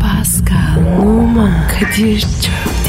Pascal, Oman, Kadir çok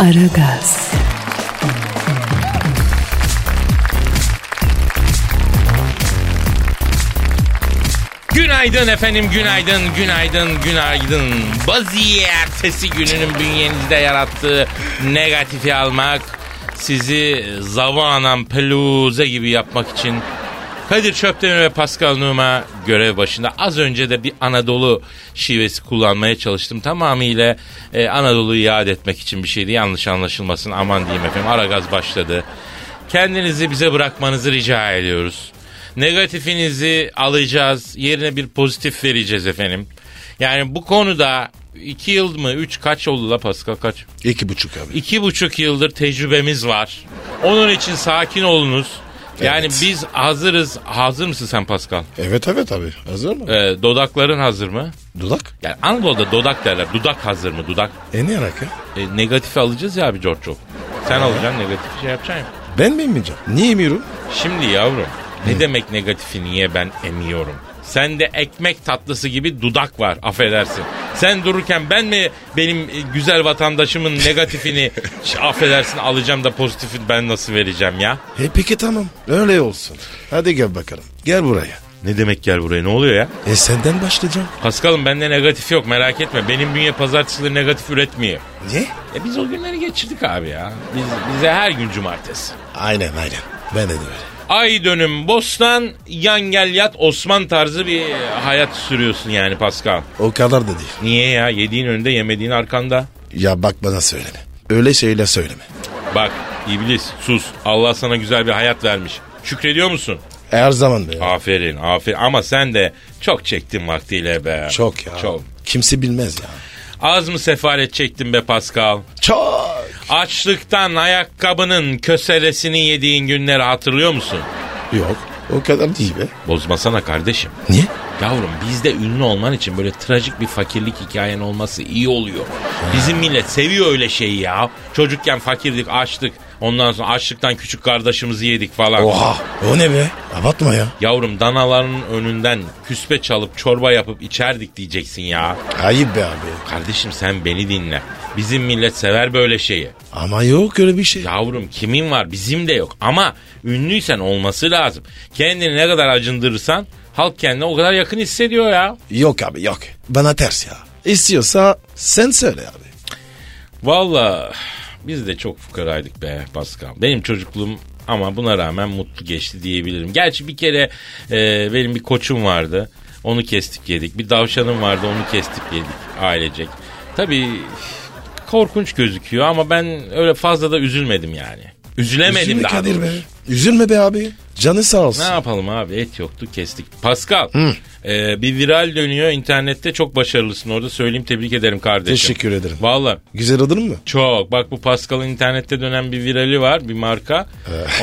Aragaz, Günaydın efendim, günaydın, günaydın, günaydın. Baziye ertesi gününün bünyenizde yarattığı negatifi almak, sizi zavanan peluze gibi yapmak için Kadir Çöptemir ve Pascal Numa görev başında. Az önce de bir Anadolu şivesi kullanmaya çalıştım. Tamamıyla e, Anadolu'yu yad etmek için bir şeydi. Yanlış anlaşılmasın aman diyeyim efendim. Aragaz başladı. Kendinizi bize bırakmanızı rica ediyoruz. Negatifinizi alacağız. Yerine bir pozitif vereceğiz efendim. Yani bu konuda iki yıl mı? Üç kaç oldu la Pascal kaç? İki buçuk abi. İki buçuk yıldır tecrübemiz var. Onun için sakin olunuz. Yani Evet. biz hazırız. Hazır mısın sen Pascal? Evet evet abi. Hazır mı? Ee, dodakların hazır mı? Dudak. Yani Anadolu'da dodak derler. Dudak hazır mı? Dudak. E ne alaka? E, negatifi alacağız ya abi Giorgio. Sen alacaksın negatifi şey yapacaksın. ya. Ben mi inmeyeceğim? Niye emiyorum? Şimdi yavrum ne demek negatifi niye ben emiyorum? Sende ekmek tatlısı gibi dudak var affedersin. Sen dururken ben mi benim e, güzel vatandaşımın negatifini ş- affedersin alacağım da pozitifi ben nasıl vereceğim ya? E peki tamam. Öyle olsun. Hadi gel bakalım. Gel buraya. Ne demek gel buraya ne oluyor ya? E senden başlayacağım. Paskal'ım bende negatif yok merak etme. Benim bünye pazartesileri negatif üretmiyor. Ne? E biz o günleri geçirdik abi ya. Biz, bize her gün cumartesi. Aynen aynen. Ben de öyle. Ay dönüm bostan, yan gel yat Osman tarzı bir hayat sürüyorsun yani Pascal. O kadar da değil. Niye ya? Yediğin önünde yemediğin arkanda. Ya bak bana söyleme. Öyle şeyler söyleme. Bak iblis sus. Allah sana güzel bir hayat vermiş. Şükrediyor musun? Her zaman be. Aferin aferin ama sen de çok çektin vaktiyle be. Çok ya. Çok. Kimse bilmez ya. Az mı sefalet çektin be Pascal? Çok. Açlıktan ayakkabının köselesini yediğin günleri hatırlıyor musun? Yok. O kadar değil be. Bozmasana kardeşim. Niye? Yavrum bizde ünlü olman için böyle trajik bir fakirlik hikayen olması iyi oluyor. Bizim millet seviyor öyle şeyi ya. Çocukken fakirdik, açtık. Ondan sonra açlıktan küçük kardeşimizi yedik falan. Oha. O ne be? Abartma ya. Yavrum danaların önünden küspe çalıp çorba yapıp içerdik diyeceksin ya. Ayıp be abi. Kardeşim sen beni dinle. Bizim millet sever böyle şeyi. Ama yok öyle bir şey. Yavrum kimin var bizim de yok ama ünlüysen olması lazım. Kendini ne kadar acındırırsan halk kendine o kadar yakın hissediyor ya. Yok abi yok. Bana ters ya. İstiyorsa sen söyle abi. Valla biz de çok fukaraydık be Pascal. Benim çocukluğum ama buna rağmen mutlu geçti diyebilirim. Gerçi bir kere e, benim bir koçum vardı. Onu kestik yedik. Bir davşanım vardı onu kestik yedik ailecek. Tabii korkunç gözüküyor ama ben öyle fazla da üzülmedim yani. Üzülemedim Üzülme daha Kadir be. doğrusu. Üzülme be abi. Canı sağ olsun. Ne yapalım abi et yoktu kestik. Pascal e, bir viral dönüyor internette çok başarılısın orada söyleyeyim tebrik ederim kardeşim. Teşekkür ederim. Valla Güzel adın mı? çok. Bak bu Pascal'ın internette dönen bir virali var bir marka.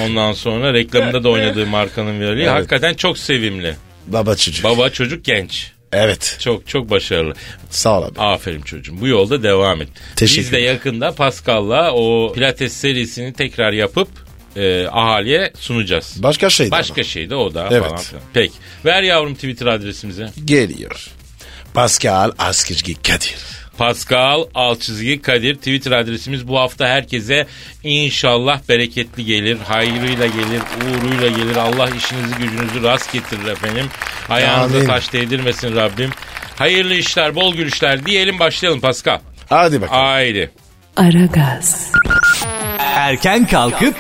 Ondan sonra reklamında da oynadığı markanın virali. Evet. Hakikaten çok sevimli. Baba çocuk. Baba çocuk genç. evet. Çok çok başarılı. Sağ ol abi. Aferin çocuğum. Bu yolda devam et. Teşekkür Biz de yakında Pascal'la o pilates serisini tekrar yapıp e, ahaliye sunacağız. Başka şey de Başka ama. şey de o da Evet. falan filan. Peki. Ver yavrum Twitter adresimizi. Geliyor. Pascal Askizgi Kadir. Pascal Alçızgi Kadir Twitter adresimiz bu hafta herkese inşallah bereketli gelir, hayrıyla gelir, uğruyla gelir. Allah işinizi gücünüzü rast getirir efendim. Ayağınıza Amin. taş değdirmesin Rabbim. Hayırlı işler, bol gülüşler diyelim başlayalım Pascal. Hadi bakalım. Haydi. Aragaz, Erken kalkıp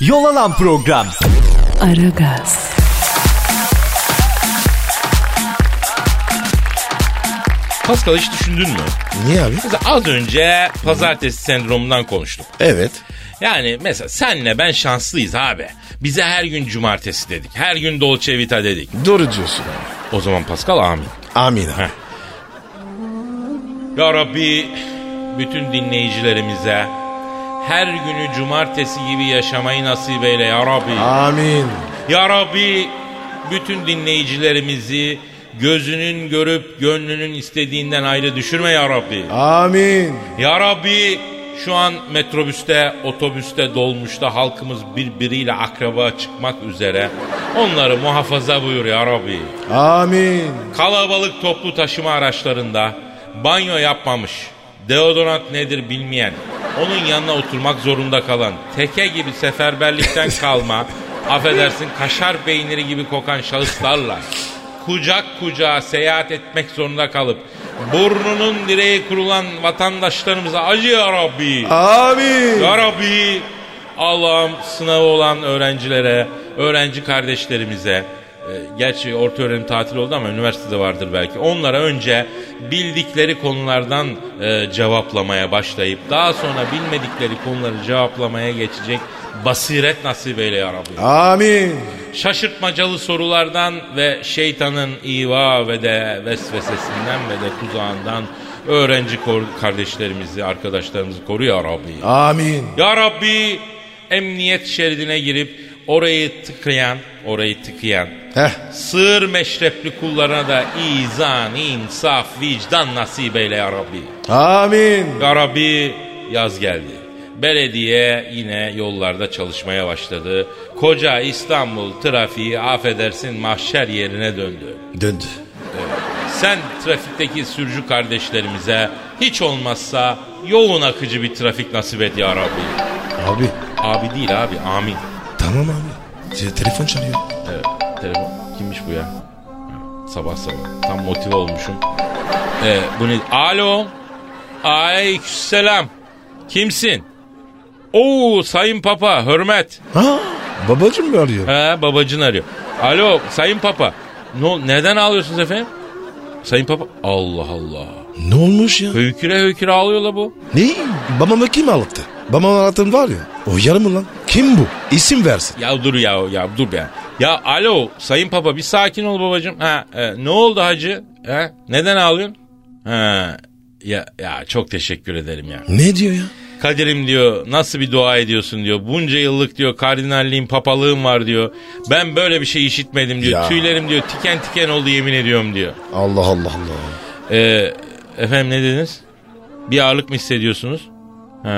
yol alan program. Aragaz, Pascal hiç düşündün mü? Niye abi? Mesela az önce pazartesi sendromundan konuştuk. Evet. Yani mesela senle ben şanslıyız abi. Bize her gün cumartesi dedik. Her gün Dolce Vita dedik. Doğru diyorsun abi. O zaman Pascal amin. Amin abi. Heh. Ya Rabbi bütün dinleyicilerimize her günü cumartesi gibi yaşamayı nasip eyle ya Rabbi. Amin. Ya Rabbi bütün dinleyicilerimizi gözünün görüp gönlünün istediğinden ayrı düşürme ya Rabbi. Amin. Ya Rabbi şu an metrobüste, otobüste, dolmuşta halkımız birbiriyle akraba çıkmak üzere. Onları muhafaza buyur ya Rabbi. Amin. Kalabalık toplu taşıma araçlarında banyo yapmamış, deodorant nedir bilmeyen, onun yanına oturmak zorunda kalan, teke gibi seferberlikten kalma, affedersin kaşar peyniri gibi kokan şahıslarla kucak kucağa seyahat etmek zorunda kalıp burnunun direği kurulan vatandaşlarımıza acı ya Rabbi. Amin. Ya Rabbi Allah'ım sınavı olan öğrencilere, öğrenci kardeşlerimize, e, gerçi orta öğrenim tatil oldu ama üniversitede vardır belki. Onlara önce bildikleri konulardan e, cevaplamaya başlayıp daha sonra bilmedikleri konuları cevaplamaya geçecek basiret nasip eyle ya Rabbi. Amin. Şaşırtmacalı sorulardan ve şeytanın iva ve de vesvesesinden ve de tuzağından öğrenci kor- kardeşlerimizi, arkadaşlarımızı koru ya Rabbi. Amin. Ya Rabbi emniyet şeridine girip orayı tıkayan, orayı tıkayan Heh. sığır meşrepli kullarına da izan, insaf, vicdan nasip eyle ya Rabbi. Amin. Ya Rabbi yaz geldi. Belediye yine yollarda çalışmaya başladı. Koca İstanbul trafiği affedersin mahşer yerine döndü. Döndü. Sen trafikteki sürücü kardeşlerimize hiç olmazsa yoğun akıcı bir trafik nasip et ya Rabbi. Abi. Abi değil abi amin. Tamam abi. Te- telefon çalıyor. Evet, telefon. Kimmiş bu ya? Sabah sabah. Tam motive olmuşum. Ee, bu ne? Alo. Aleykümselam. Kimsin? Oo Sayın Papa, hürmet. Ha? Babacım mı arıyor? Ha, babacın arıyor. Alo, Sayın Papa. Ne, ol- neden ağlıyorsunuz efendim? Sayın Papa. Allah Allah. Ne olmuş ya? Höyküre höyküre ağlıyor la bu. Ne? Babamı kim ağlattı? Babamı ağlatan var ya. O yarım mı lan? Kim bu? İsim versin. Ya dur ya ya dur be. Ya alo sayın papa bir sakin ol babacığım. Ha e, ne oldu hacı? Ha, neden ağlıyorsun? Ha ya ya çok teşekkür ederim ya. Ne diyor ya? Kadir'im diyor nasıl bir dua ediyorsun diyor. Bunca yıllık diyor kardinalliğim papalığım var diyor. Ben böyle bir şey işitmedim diyor. Ya. Tüylerim diyor tiken tiken oldu yemin ediyorum diyor. Allah Allah Allah. Ee, efendim ne dediniz? Bir ağırlık mı hissediyorsunuz? Ha,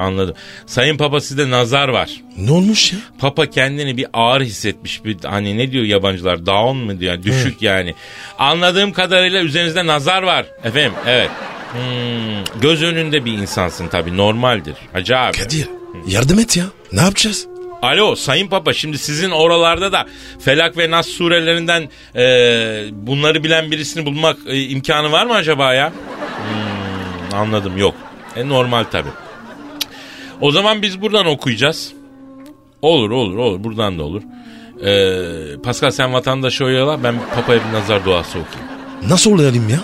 anladım. Sayın Papa sizde nazar var. Ne olmuş ya? Papa kendini bir ağır hissetmiş. Bir, hani ne diyor yabancılar? Down mı diyor? Yani düşük yani. Anladığım kadarıyla üzerinizde nazar var. Efendim evet. Hmm, göz önünde bir insansın tabii normaldir. Hacı abi. Kadir yardım et ya. Ne yapacağız? Alo Sayın Papa şimdi sizin oralarda da Felak ve Nas surelerinden e, bunları bilen birisini bulmak e, imkanı var mı acaba ya? Hmm, anladım yok. E, normal tabii. O zaman biz buradan okuyacağız. Olur olur olur buradan da olur. E, Pascal sen vatandaşı oyala ben Papa'ya bir nazar duası okuyayım. Nasıl olayım ya?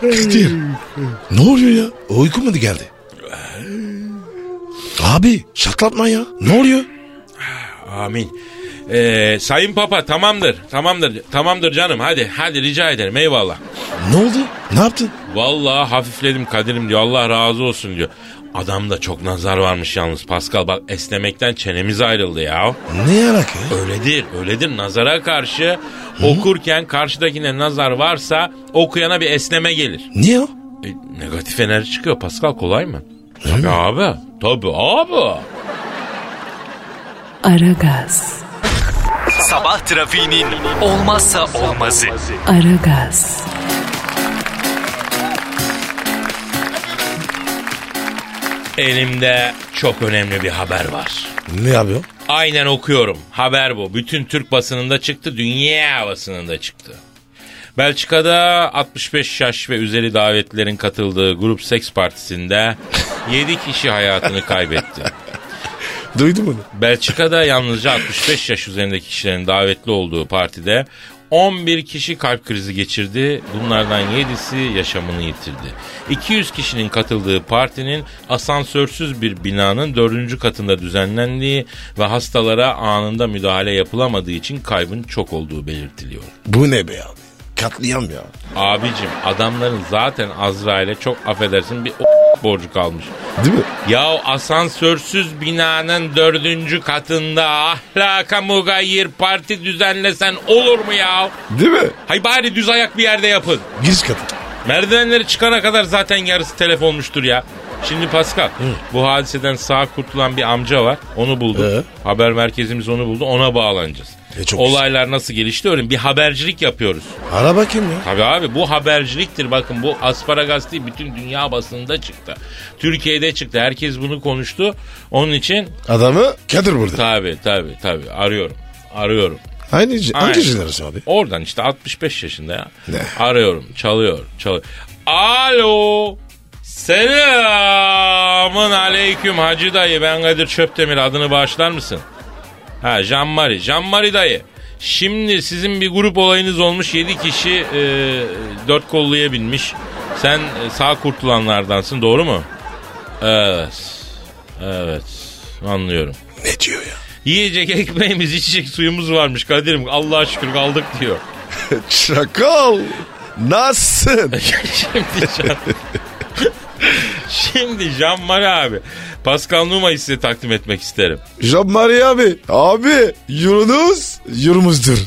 Kadir. Ne oluyor ya? Uyku mu geldi? Abi şatlatma ya. Ne oluyor? Amin. E, Sayın Papa tamamdır tamamdır tamamdır canım hadi hadi rica ederim eyvallah. Ne oldu? Ne yaptın? Vallahi hafifledim Kadir'im diyor. Allah razı olsun diyor. Adamda çok nazar varmış yalnız Pascal. Bak esnemekten çenemiz ayrıldı ya. Ne alaka? ya? Öyledir, öyledir. Nazara karşı okurken karşıdakine nazar varsa okuyana bir esneme gelir. Niye o? E, negatif enerji çıkıyor Pascal kolay mı? Tabii abi. Tabii abi. Aragaz, Sabah trafiğinin olmazsa olmazı. Aragaz, Elimde çok önemli bir haber var. Ne yapıyor? Aynen okuyorum. Haber bu. Bütün Türk basınında çıktı, dünya basınında çıktı. Belçika'da 65 yaş ve üzeri davetlilerin katıldığı grup seks partisinde 7 kişi hayatını kaybetti. Duydun mu? Belçika'da yalnızca 65 yaş üzerindeki kişilerin davetli olduğu partide 11 kişi kalp krizi geçirdi. Bunlardan 7'si yaşamını yitirdi. 200 kişinin katıldığı partinin asansörsüz bir binanın 4. katında düzenlendiği ve hastalara anında müdahale yapılamadığı için kaybın çok olduğu belirtiliyor. Bu ne be abi? Katliam ya. Abicim adamların zaten Azrail'e çok affedersin bir borcu kalmış. Değil mi? Ya asansörsüz binanın dördüncü katında ahlaka mugayir parti düzenlesen olur mu ya? Değil mi? Hay bari düz ayak bir yerde yapın. Giriş katı. Merdivenleri çıkana kadar zaten yarısı telef olmuştur ya. Şimdi Pascal bu hadiseden sağ kurtulan bir amca var. Onu bulduk. Ee? Haber merkezimiz onu buldu. Ona bağlanacağız. E, çok Olaylar nasıl gelişti öyle bir habercilik yapıyoruz. Ara bakayım ya. Tabii abi bu haberciliktir bakın bu asparagas değil bütün dünya basınında çıktı. Türkiye'de çıktı herkes bunu konuştu. Onun için Adamı Kadir burada. tabii tabii tabii arıyorum arıyorum. Aynı, c- Aynen. hangi jenerasyon abi? Oradan işte 65 yaşında ya. Ne? Arıyorum çalıyor çalıyor. Alo selamın aleyküm hacı dayı ben Kadir Çöptemir adını bağışlar mısın? Ha Jean-Marie. Jean-Marie dayı. Şimdi sizin bir grup olayınız olmuş. 7 kişi e, dört kolluya binmiş. Sen e, sağ kurtulanlardansın doğru mu? Evet. Evet. Anlıyorum. Ne diyor ya? Yiyecek ekmeğimiz, içecek suyumuz varmış Kadir'im. Allah'a şükür kaldık diyor. Çakal. Nasılsın? Şimdi Can... Şimdi Jean-Marie abi. Pascal Numa'yı size takdim etmek isterim. Jean Marie abi. Abi Yunus yurumuzdur.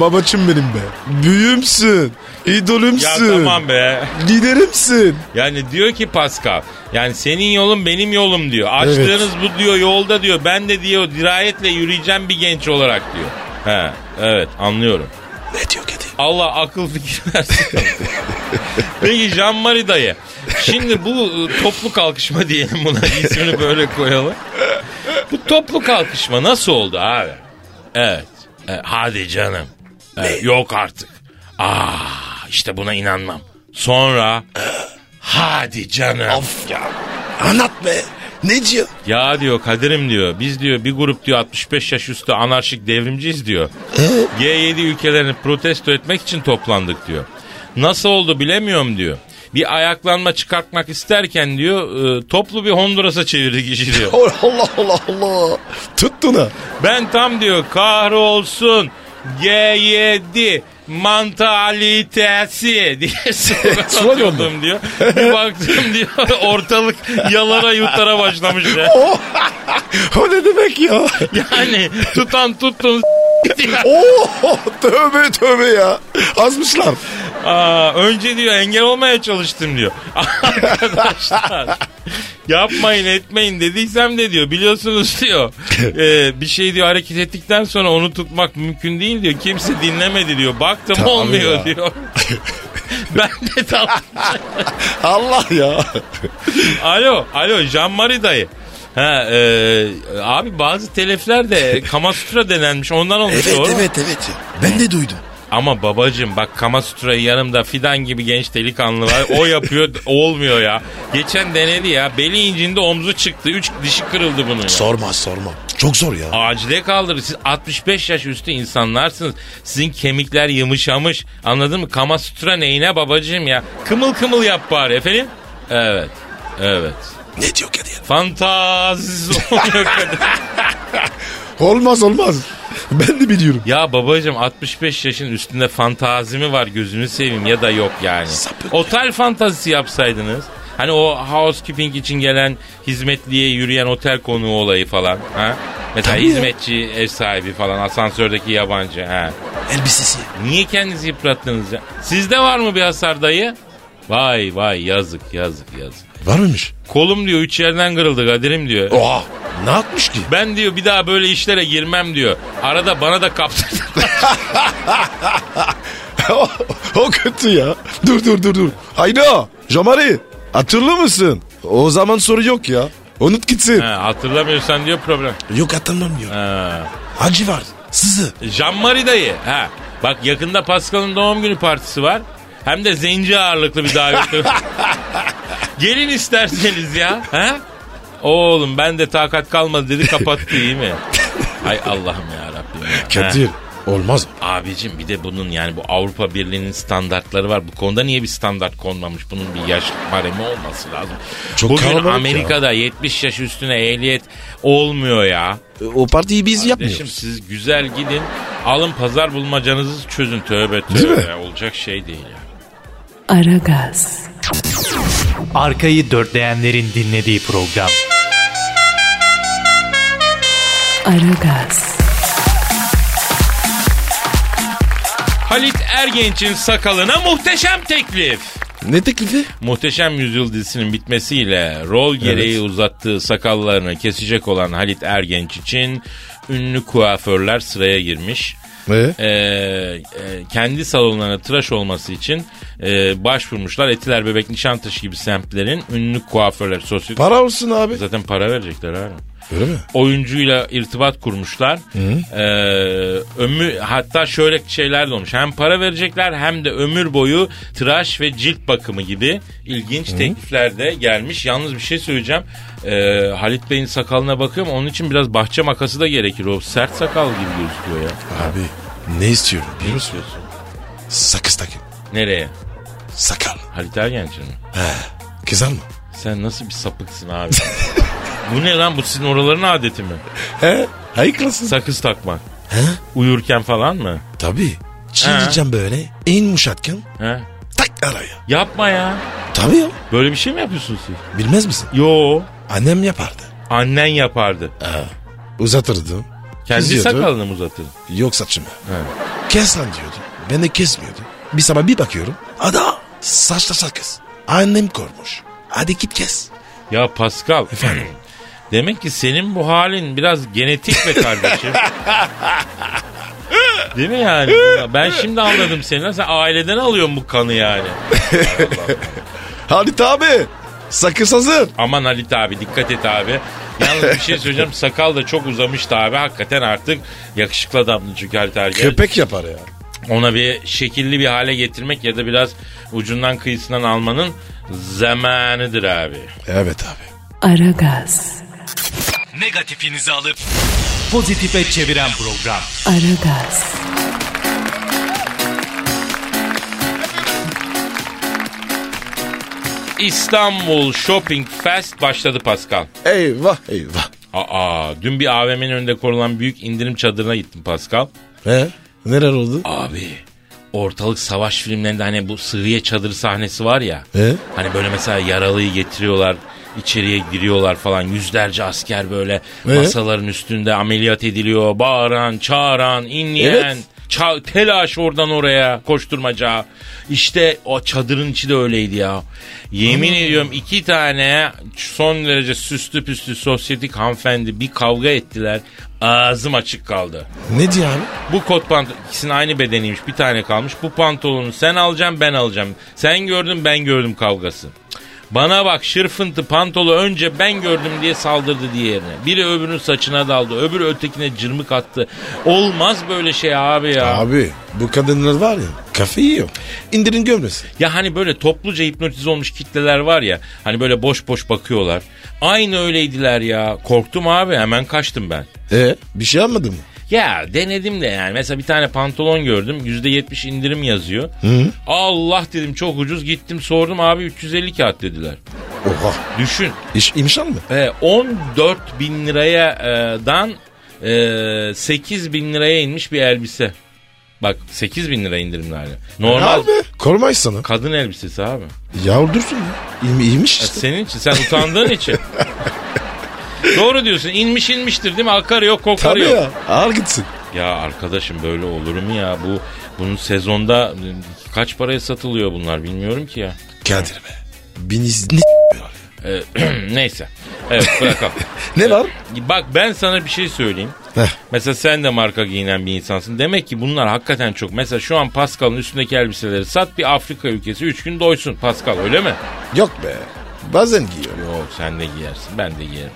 Babacım benim be. Büyümsün. Ya İdolümsün. tamam be. Liderimsin. Yani diyor ki Pascal yani senin yolun benim yolum diyor. Açtığınız bu diyor yolda diyor ben de diyor dirayetle yürüyeceğim bir genç olarak diyor. He evet anlıyorum. Ne diyor kedi? Allah akıl fikir versin. Peki Jean-Marie dayı. Şimdi bu e, toplu kalkışma diyelim buna ismini böyle koyalım. Bu toplu kalkışma nasıl oldu abi? Evet. E, hadi canım. E, yok artık. Aa işte buna inanmam. Sonra hadi canım. Of ya. Anlat be. Ne diyor? Ya diyor Kadir'im diyor biz diyor bir grup diyor 65 yaş üstü anarşik devrimciyiz diyor. G7 ülkelerini protesto etmek için toplandık diyor. Nasıl oldu bilemiyorum diyor. Bir ayaklanma çıkartmak isterken diyor e, toplu bir Honduras'a çevirdik işi diyor. Oh, Allah Allah Allah. Tuttun ha. Ben tam diyor kahrolsun G7 mantalitesi diye Sıra döndü. soruyordum diyor. Bir baktım diyor ortalık yalara yutlara başlamış ya. Oh. o ne demek ya? Yani tutan tuttun diyor. Oo, Oh, tövbe tövbe ya. Azmışlar. Aa, önce diyor engel olmaya çalıştım diyor. Arkadaşlar yapmayın etmeyin dediysem de diyor biliyorsunuz diyor. Ee, bir şey diyor hareket ettikten sonra onu tutmak mümkün değil diyor. Kimse dinlemedi diyor. Baktım Tabii olmuyor ya. diyor. ben de tam. Allah ya. alo alo Jean-Marie dayı. Ha, e, abi bazı telefler de Kamasutra denenmiş ondan olmuş doğru mu? evet. Ben de duydum. Ama babacım bak Kama Sutra'yı yanımda fidan gibi genç delikanlı var. O yapıyor olmuyor ya. Geçen denedi ya. Beli incindi omzu çıktı. Üç dişi kırıldı bunun ya. Sorma sorma. Çok zor ya. Acile kaldırır. Siz 65 yaş üstü insanlarsınız. Sizin kemikler yumuşamış. Anladın mı? Kama Sutra neyine babacığım ya? Kımıl kımıl yap bari efendim. Evet. Evet. Ne diyor Kadir? Fantazisi oluyor kadın. Olmaz olmaz. Ben de biliyorum. Ya babacım 65 yaşın üstünde fantazi mi var gözünü seveyim ya da yok yani. Sapık. Otel fantazisi yapsaydınız. Hani o housekeeping için gelen hizmetliye yürüyen otel konuğu olayı falan. Ha? Mesela Tabii ya. hizmetçi ev sahibi falan asansördeki yabancı. Ha? Elbisesi. Niye kendinizi yıprattınız ya? Sizde var mı bir hasar dayı? Vay vay yazık yazık yazık. Var mıymış? Kolum diyor üç yerden kırıldı Kadir'im diyor. Oha. Ne yapmış ki? Ben diyor bir daha böyle işlere girmem diyor. Arada bana da kaptırdı. o, o kötü ya. Dur dur dur dur. Ayna. Jamari. Hatırlı mısın? O zaman soru yok ya. Unut gitsin. Ha, hatırlamıyorsan diyor problem. Yok hatırlamıyor. Ha. Hacı var. Sızı. Jean-Marie dayı. Ha. Bak yakında Pascal'ın doğum günü partisi var. Hem de zenci ağırlıklı bir davet. Gelin isterseniz ya. Ha? Oğlum ben de takat kalmadı dedi kapattı iyi mi? Ay Allah'ım ya Rabbim. Kadir. Olmaz mı? Abicim bir de bunun yani bu Avrupa Birliği'nin standartları var. Bu konuda niye bir standart konmamış? Bunun bir yaş baremi olması lazım. Çok Bugün kalabalık ya. Amerika'da 70 yaş üstüne ehliyet olmuyor ya. E, O partiyi biz Kardeşim yapmıyoruz. siz güzel gidin. Alın pazar bulmacanızı çözün. Tövbe tövbe. Değil mi? Ya, Olacak şey değil ya. Aragaz, Arkayı dörtleyenlerin dinlediği program. Aragaz, Halit Ergenç'in sakalına muhteşem teklif. Ne teklifi? Muhteşem Yüzyıl dizisinin bitmesiyle rol gereği uzattığı sakallarını kesecek olan Halit Ergenç için ünlü kuaförler sıraya girmiş. Ee? Ee, e, kendi salonlarına tıraş olması için e, başvurmuşlar. Etiler Bebek Nişantaşı gibi semtlerin ünlü kuaförler sosyal... Para olsun abi. Zaten para verecekler abi Öyle mi? oyuncuyla irtibat kurmuşlar. Ee, ömür hatta şöyle şeyler de olmuş. Hem para verecekler hem de ömür boyu tıraş ve cilt bakımı gibi ilginç teklifler de gelmiş. Yalnız bir şey söyleyeceğim. Ee, Halit Bey'in sakalına bakıyorum. Onun için biraz bahçe makası da gerekir. O sert sakal gibi gözüküyor ya. Abi ne istiyorum biliyor musun? Diyorsun. Sakız takın. Nereye? Sakal. Halit Ergenç'e mi? Kızar mı? Sen nasıl bir sapıksın abi? Bu ne lan? Bu sizin oraların adeti mi? He? Hayıklasın. Sakız takmak. He? Uyurken falan mı? Tabii. Çiğneyeceğim böyle. En yumuşatken He? tak araya. Yapma ya. Tabii ya. Böyle bir şey mi yapıyorsun siz? Bilmez misin? Yo. Annem yapardı. Annen yapardı. Uzatırdım. Kendi Kızıyordu. sakalını mı uzatır? Yok saçımı. Kes lan diyordu. Ben de kesmiyordum. Bir sabah bir bakıyorum. Ada saçta sakız. Annem kormuş. Hadi git kes. Ya Pascal. Demek ki senin bu halin biraz genetik be kardeşim. Değil mi yani? Ben şimdi anladım seni. lan. Sen aileden alıyorsun bu kanı yani. Halit abi sakız hazır. Aman Halit abi dikkat et abi. Yalnız bir şey söyleyeceğim. Sakal da çok uzamıştı abi. Hakikaten artık yakışıklı adamdı çünkü Halit Ergen. Köpek yapar ya. Ona bir şekilli bir hale getirmek ya da biraz ucundan kıyısından almanın zamanıdır abi. Evet abi. Aragaz, Negatifinizi alıp Pozitife çeviren program. Aragaz, İstanbul Shopping Fest başladı Pascal. Eyvah eyvah. Aa, dün bir AVM'nin önünde kurulan büyük indirim çadırına gittim Pascal. He? Neler oldu? Abi ortalık savaş filmlerinde hani bu sıhhiye çadırı sahnesi var ya. E? Hani böyle mesela yaralıyı getiriyorlar içeriye giriyorlar falan yüzlerce asker böyle E? masaların üstünde ameliyat ediliyor. Bağıran, çağıran, inleyen. Evet. ça- telaş oradan oraya koşturmaca. İşte o çadırın içi de öyleydi ya. Yemin ediyorum iki tane son derece süslü püslü sosyetik hanımefendi bir kavga ettiler. Ağzım açık kaldı. Ne diyor abi? Bu kot pantolon ikisinin aynı bedeniymiş bir tane kalmış. Bu pantolonu sen alacaksın ben alacağım. Sen gördün ben gördüm kavgası. Bana bak şırfıntı pantolu önce ben gördüm diye saldırdı diğerine. Biri öbürünün saçına daldı öbürü ötekine cırmık attı. Olmaz böyle şey abi ya. Abi bu kadınlar var ya kafayı yiyor. İndirin gömlesi. Ya hani böyle topluca hipnotize olmuş kitleler var ya. Hani böyle boş boş bakıyorlar. Aynı öyleydiler ya. Korktum abi hemen kaçtım ben. E bir şey almadın mı? Ya denedim de yani. Mesela bir tane pantolon gördüm. %70 indirim yazıyor. Allah dedim çok ucuz. Gittim sordum abi 350 kağıt dediler. Oha. Düşün. İş, imşan mı? E, 14 bin liraya e, dan e, 8 bin liraya inmiş bir elbise. Bak 8 bin lira indirimli hali. Normal Abi kormayız sana. kadın elbisesi abi. Ya dursun ya. İyi, iyiymiş Ya işte. Senin için sen utandığın için. Doğru diyorsun. İnmiş inmiştir değil mi? Akar yok kokar Tabii yok. ya. Ağır gitsin. Ya arkadaşım böyle olur mu ya? Bu bunun sezonda e, kaç paraya satılıyor bunlar bilmiyorum ki ya. Kadir be. Biniz ne var? Ee, neyse. Evet bırakalım. E, Ne var? Bak ben sana bir şey söyleyeyim. Heh. Mesela sen de marka giyinen bir insansın. Demek ki bunlar hakikaten çok. Mesela şu an Pascal'ın üstündeki elbiseleri sat bir Afrika ülkesi 3 gün doysun Pascal öyle mi? Yok be. Bazen giyiyor. Yok sen de giyersin ben de giyerim.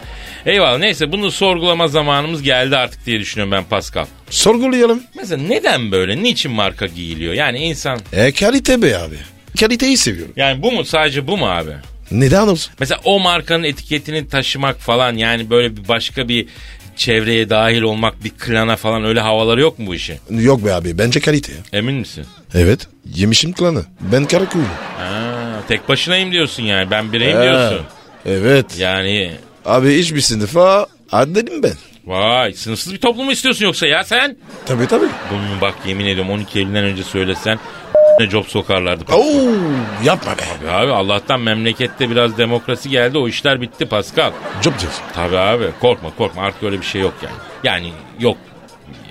Eyvallah neyse bunu sorgulama zamanımız geldi artık diye düşünüyorum ben Pascal. Sorgulayalım. Mesela neden böyle? Niçin marka giyiliyor? Yani insan E kalite be abi. Kaliteyi seviyorum. yani bu mu sadece bu mu abi? Neden olsun? Mesela o markanın etiketini taşımak falan yani böyle bir başka bir çevreye dahil olmak bir klana falan öyle havaları yok mu bu işi? Yok be abi bence kalite ya. Emin misin? Evet yemişim klanı. Ben Karakuyum. Ha, tek başınayım diyorsun yani ben bireyim diyorsun. Evet. Yani Abi hiçbir sınıfa addedim ben. vay sınırsız bir toplum mu istiyorsun yoksa ya sen? Tabii tabii. Bunu bak yemin ediyorum 12 Eylül'den önce söylesen ne job sokarlardı. Oo, yapma be. Tabii abi Allah'tan memlekette biraz demokrasi geldi o işler bitti Pascal. Job diyorsun. Tabii abi korkma korkma artık öyle bir şey yok yani. Yani yok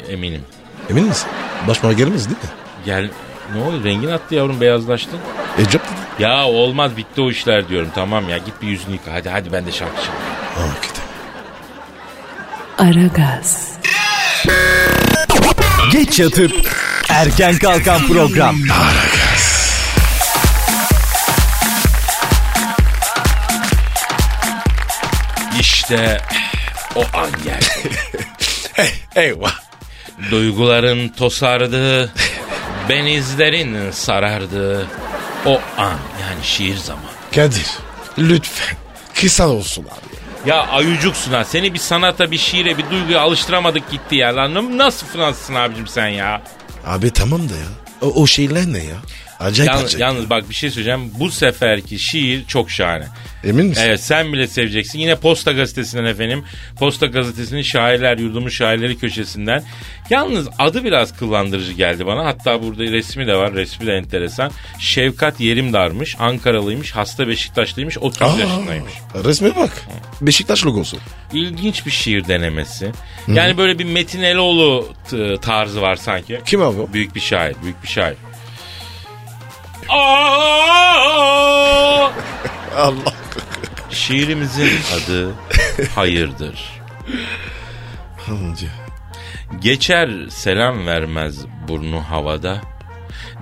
eminim. Emin misin? Başıma gelmez değil mi? Gel ne oldu rengin attı yavrum beyazlaştın. E job dedi. Ya olmaz bitti o işler diyorum tamam ya git bir yüzünü yıka hadi hadi ben de şarkı çalayım. Aa, kötü. Aragaz, Geç yatıp erken kalkan program. İşte o an geldi. Eyvah. Duyguların tosardı, benizlerin sarardı. O an yani şiir zamanı. Kadir lütfen kısa olsun abi. Ya ayucuksun ha. Seni bir sanata, bir şiire, bir duyguya alıştıramadık gitti ya lan. Nasıl Fransızsın abicim sen ya? Abi tamam da ya. O, o şeyler ne ya? Acayip Yalnız, acayip. yalnız bak bir şey söyleyeceğim. Bu seferki şiir çok şahane. Emin misin? Evet sen bile seveceksin. Yine Posta Gazetesi'nden efendim. Posta Gazetesi'nin Şairler Yurdumun Şairleri köşesinden. Yalnız adı biraz kullandırıcı geldi bana. Hatta burada resmi de var. Resmi de enteresan. Şevkat Yerimdar'mış. Ankaralıymış. Hasta Beşiktaşlıymış. 30 Aa, yaşındaymış. Resme bak. Beşiktaş logosu. İlginç bir şiir denemesi. Yani böyle bir Metin Eloğlu t- tarzı var sanki. Kim abi o? Büyük bir şair, büyük bir şair. Aa! Allah. Şiirimizin adı Hayırdır. Geçer selam vermez burnu havada.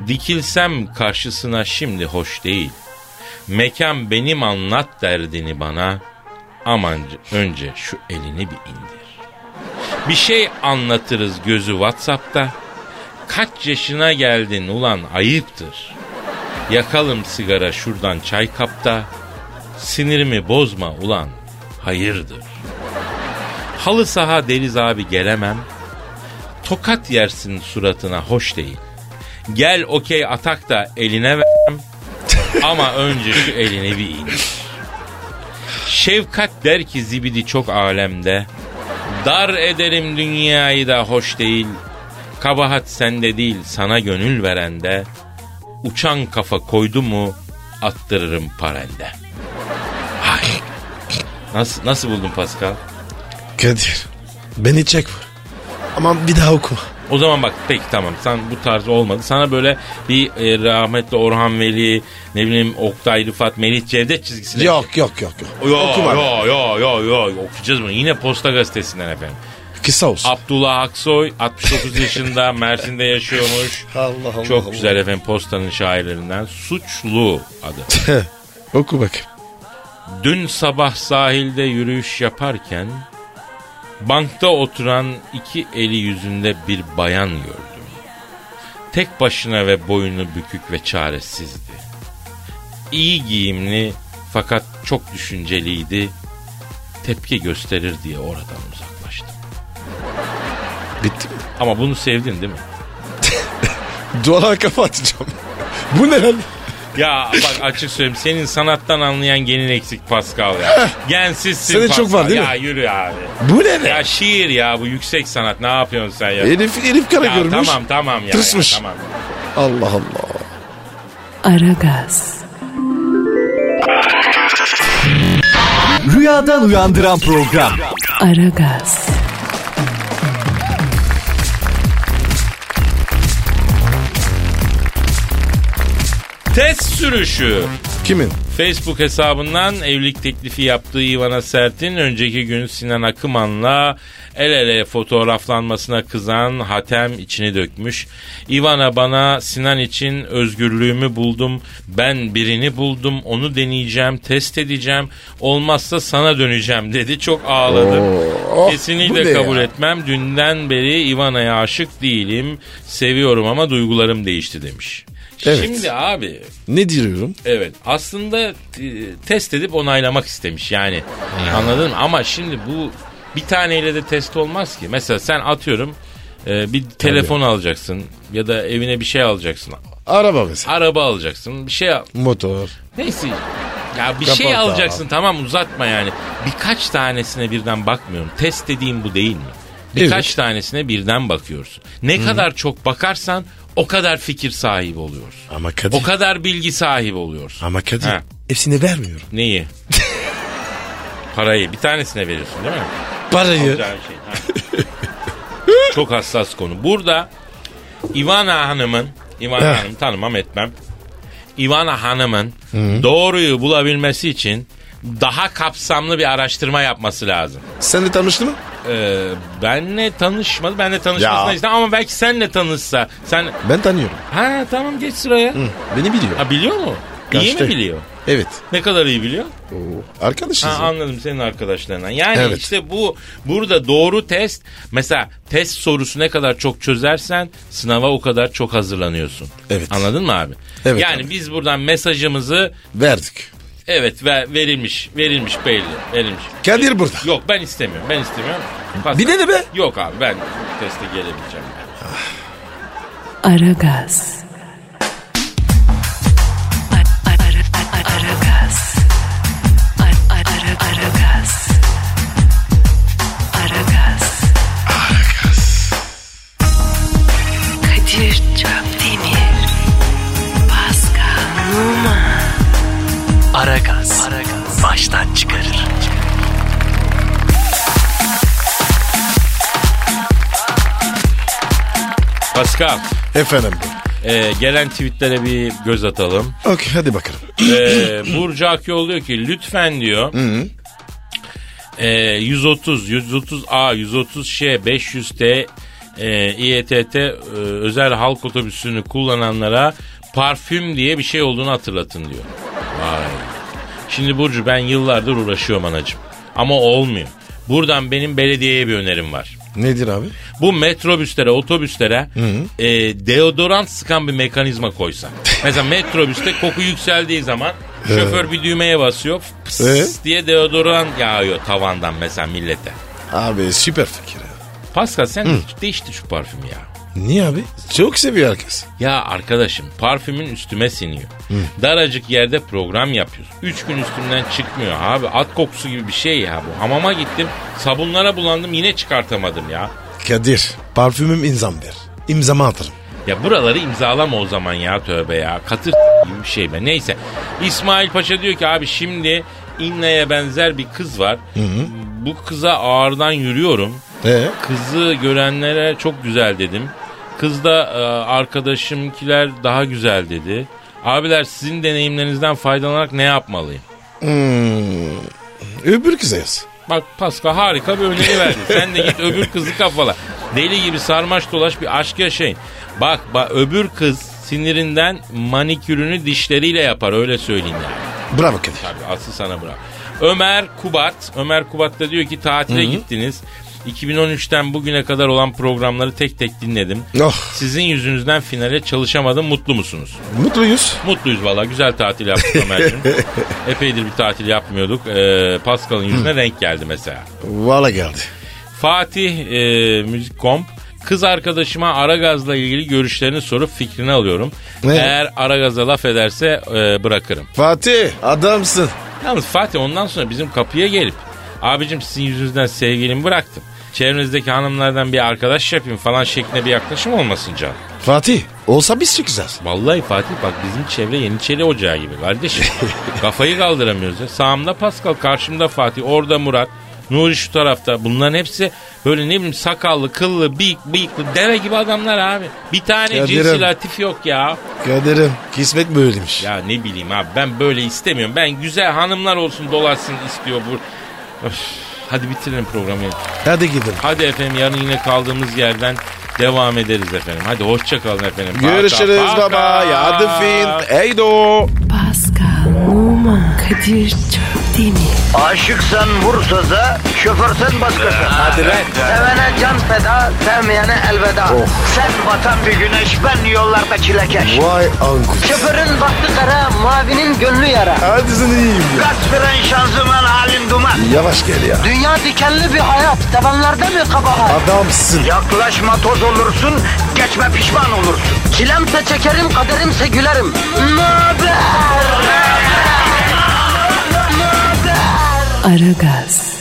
Dikilsem karşısına şimdi hoş değil. Mekan benim anlat derdini bana. Aman önce şu elini bir indir. Bir şey anlatırız gözü Whatsapp'ta. Kaç yaşına geldin ulan ayıptır. Yakalım sigara şuradan çay kapta. Sinirimi bozma ulan hayırdır. Halı saha deniz abi gelemem. Tokat yersin suratına hoş değil. Gel okey atak da eline verem. Ama önce şu elini bir indir. Şefkat der ki zibidi çok alemde. Dar ederim dünyayı da hoş değil. Kabahat sende değil sana gönül verende. Uçan kafa koydu mu attırırım parende. Hay. Nasıl, nasıl buldun Pascal? Kadir beni çek vur. Ama bir daha oku. O zaman bak peki tamam sen bu tarz olmadı. Sana böyle bir e, rahmetli Orhan Veli, ne bileyim Oktay Rıfat, Melih Cevdet çizgisine... Yok yok yok. yok. Yo, Okuma. yo, yo, yo, yo, okuyacağız bunu. Yine Posta Gazetesi'nden efendim. Kısa olsun. Abdullah Aksoy 69 yaşında Mersin'de yaşıyormuş. Allah Allah Çok Allah. güzel efendim Posta'nın şairlerinden. Suçlu adı. oku bak. Dün sabah sahilde yürüyüş yaparken bankta oturan iki eli yüzünde bir bayan gördüm. Tek başına ve boynu bükük ve çaresizdi. İyi giyimli fakat çok düşünceliydi. Tepki gösterir diye oradan uzaklaştım. Bitti mi? Ama bunu sevdin değil mi? Duvara kafa atacağım. Bu ne lan? Ya bak açık söyleyeyim senin sanattan anlayan gelin eksik Pascal ya. Gensizsin Senin Pascal. çok var değil mi? Ya yürü abi. Bu ne Ya lan? şiir ya bu yüksek sanat ne yapıyorsun sen ya? Elif, Elif kara Ya görmüş. tamam tamam ya. Tırsmış. ya, tamam. Allah Allah. Aragaz, Rüyadan uyandıran program. Aragaz, Test sürüşü. Kimin? Facebook hesabından evlilik teklifi yaptığı Ivana Sert'in önceki gün Sinan Akıman'la el ele fotoğraflanmasına kızan Hatem içini dökmüş. Ivana bana Sinan için özgürlüğümü buldum. Ben birini buldum. Onu deneyeceğim, test edeceğim. Olmazsa sana döneceğim dedi. Çok ağladım. oh, bu Kesinlikle ne kabul ya? etmem. Dünden beri Ivana'ya aşık değilim. Seviyorum ama duygularım değişti demiş. Evet. Şimdi abi Ne diyorum? Evet aslında e, test edip onaylamak istemiş yani anladın mı? Ama şimdi bu bir taneyle de test olmaz ki. Mesela sen atıyorum e, bir telefon alacaksın ya da evine bir şey alacaksın. Araba mesela. Araba alacaksın. Bir şey al. Motor. Neyse. Ya bir şey Kapat abi. alacaksın tamam uzatma yani. Birkaç tanesine birden bakmıyorum. Test dediğim bu değil mi? Birkaç Evet. tanesine birden bakıyorsun. Ne kadar çok bakarsan o kadar fikir sahibi oluyorsun. Ama Kadir. O kadar bilgi sahibi oluyorsun. Ama Kadir. Ha. Hepsini vermiyorum. Neyi? Parayı bir tanesine veriyorsun değil mi? Parayı. Güzel şey. ha. Çok hassas konu. Burada Ivana Hanım'ın, Ivana Heh. Hanım tanımam etmem. Ivana Hanım'ın doğruyu bulabilmesi için daha kapsamlı bir araştırma yapması lazım. Sen de tanıştın mı? Ee, benle tanışmadı, benle tanışmasına Ya. işte ama belki senle tanışsa. Sen Ben tanıyorum. ha tamam geç sıraya. Beni biliyor. Ha biliyor mu? İyi Kaçtı. mi biliyor? Evet. Ne kadar iyi biliyor? Arkadaşız. Ha, ya. anladım senin arkadaşlarından. Yani Evet. işte bu burada doğru test mesela test sorusu ne kadar çok çözersen sınava o kadar çok hazırlanıyorsun. Evet. Anladın mı abi? Evet Yani abi. biz buradan mesajımızı Verdik. evet ver, verilmiş verilmiş belli verilmiş. Kadir burada. Yok ben istemiyorum ben istemiyorum. Pas- Bir de de be. Yok abi ben teste gelebileceğim. Aragaz. Aragaz. Aragaz. Aragaz. Kadir Çöptemir. Pascal Numa. Aragaz. Baştan çıkarır. Pascal Efendim. e, gelen tweetlere bir göz atalım. Okey hadi bakalım. Ee, Burcu Akyol diyor ki lütfen diyor. Ee, 130 130 A 130 Ş 500 T e, İETT e, özel halk otobüsünü kullananlara parfüm diye bir şey olduğunu hatırlatın diyor. Vay. Şimdi Burcu ben yıllardır uğraşıyorum anacığım. Ama olmuyor. Buradan benim belediyeye bir önerim var. Nedir abi? Bu metrobüslere, otobüslere e, deodorant sıkan bir mekanizma koysa. Mesela metrobüste koku yükseldiği zaman şoför bir düğmeye basıyor. Pıs Ee? diye deodorant yağıyor tavandan mesela millete. Abi süper fikir ya. Pascal sen değişti şu parfüm ya. Niye abi? Çok seviyor herkes. Ya arkadaşım parfümün üstüme siniyor. Daracık yerde program yapıyoruz. Üç gün üstümden çıkmıyor abi. At kokusu gibi bir şey ya bu. Hamama gittim sabunlara bulandım yine çıkartamadım ya. Kadir parfümüm imzam ver. İmzama atarım. Ya buraları imzalama o zaman ya tövbe ya. Katır gibi bir şey be. Neyse. İsmail Paşa diyor ki abi şimdi İnna'ya benzer bir kız var. Bu kıza ağırdan yürüyorum. Ee? Kızı görenlere çok güzel dedim. Kız da e, arkadaşımkiler daha güzel dedi. Abiler sizin deneyimlerinizden faydalanarak ne yapmalıyım? Öbür kıza yaz. Bak Pascal harika bir öneri verdin. Sen de git öbür kızı kafala. Deli gibi sarmaş dolaş bir aşk yaşayın. Bak bak öbür kız sinirinden manikürünü dişleriyle yapar öyle söyleyeyim yani. Bravo Kadir. Abi aslı sana bırak. Ömer Kubat. Ömer Kubat da diyor ki tatile gittiniz. 2013'ten bugüne kadar olan programları tek tek dinledim. Oh. Sizin yüzünüzden finale çalışamadım. Mutlu musunuz? Mutluyuz. Mutluyuz valla. Güzel tatil yaptık Ömer'cim. Epeydir bir tatil yapmıyorduk. Ee, Pascal'ın yüzüne renk geldi mesela. Valla geldi. Fatih e, Müzikkom kız arkadaşıma Aragaz'la ilgili görüşlerini sorup fikrini alıyorum. Ne? Eğer Aragaz'a laf ederse e, bırakırım. Fatih adamsın. Yalnız Fatih ondan sonra bizim kapıya gelip abicim sizin yüzünüzden sevgilimi bıraktım. Çevrenizdeki hanımlardan bir arkadaş yapayım falan şeklinde bir yaklaşım olmasın canım. Fatih olsa biz çıkacağız. Vallahi Fatih bak bizim çevre Yeniçeri Ocağı gibi kardeşim. Kafayı kaldıramıyoruz ya. Sağımda Pascal, karşımda Fatih, orada Murat. Nuri şu tarafta. Bunların hepsi böyle ne bileyim sakallı, kıllı, bıyık, bıyıklı deve gibi adamlar abi. Bir tane Ya cinsi derim. latif yok ya. Kadir'im kismet böyleymiş. Ya ne bileyim abi ben böyle istemiyorum. Ben güzel hanımlar olsun dolaşsın istiyor bu. Öf, hadi bitirelim programı. Hadi gidelim. Hadi efendim yarın yine kaldığımız yerden devam ederiz efendim. Hadi hoşça kalın efendim. Paka, Görüşürüz paka. baba. Ya the fin. Eydo. Pascal, Oman, Kadir çok değil mi? Aşıksan vursa da, şoförsen başkasın. Hadi lan. Sevene can feda, sevmeyene elveda. Sen batan bir güneş, ben yollarda çilekeş. Vay anku. Şoförün baktı kara, mavinin gönlü yara. Hadi sen iyiyim ya. Kasperen şanzıman halin duman. Yavaş gel ya. Dünya dikenli bir hayat, sevenlerde mi kabahar? Adamsın. Yaklaşma toz olursun, geçme pişman olursun. Çilemse çekerim, kaderimse gülerim. Möber! Aragaz.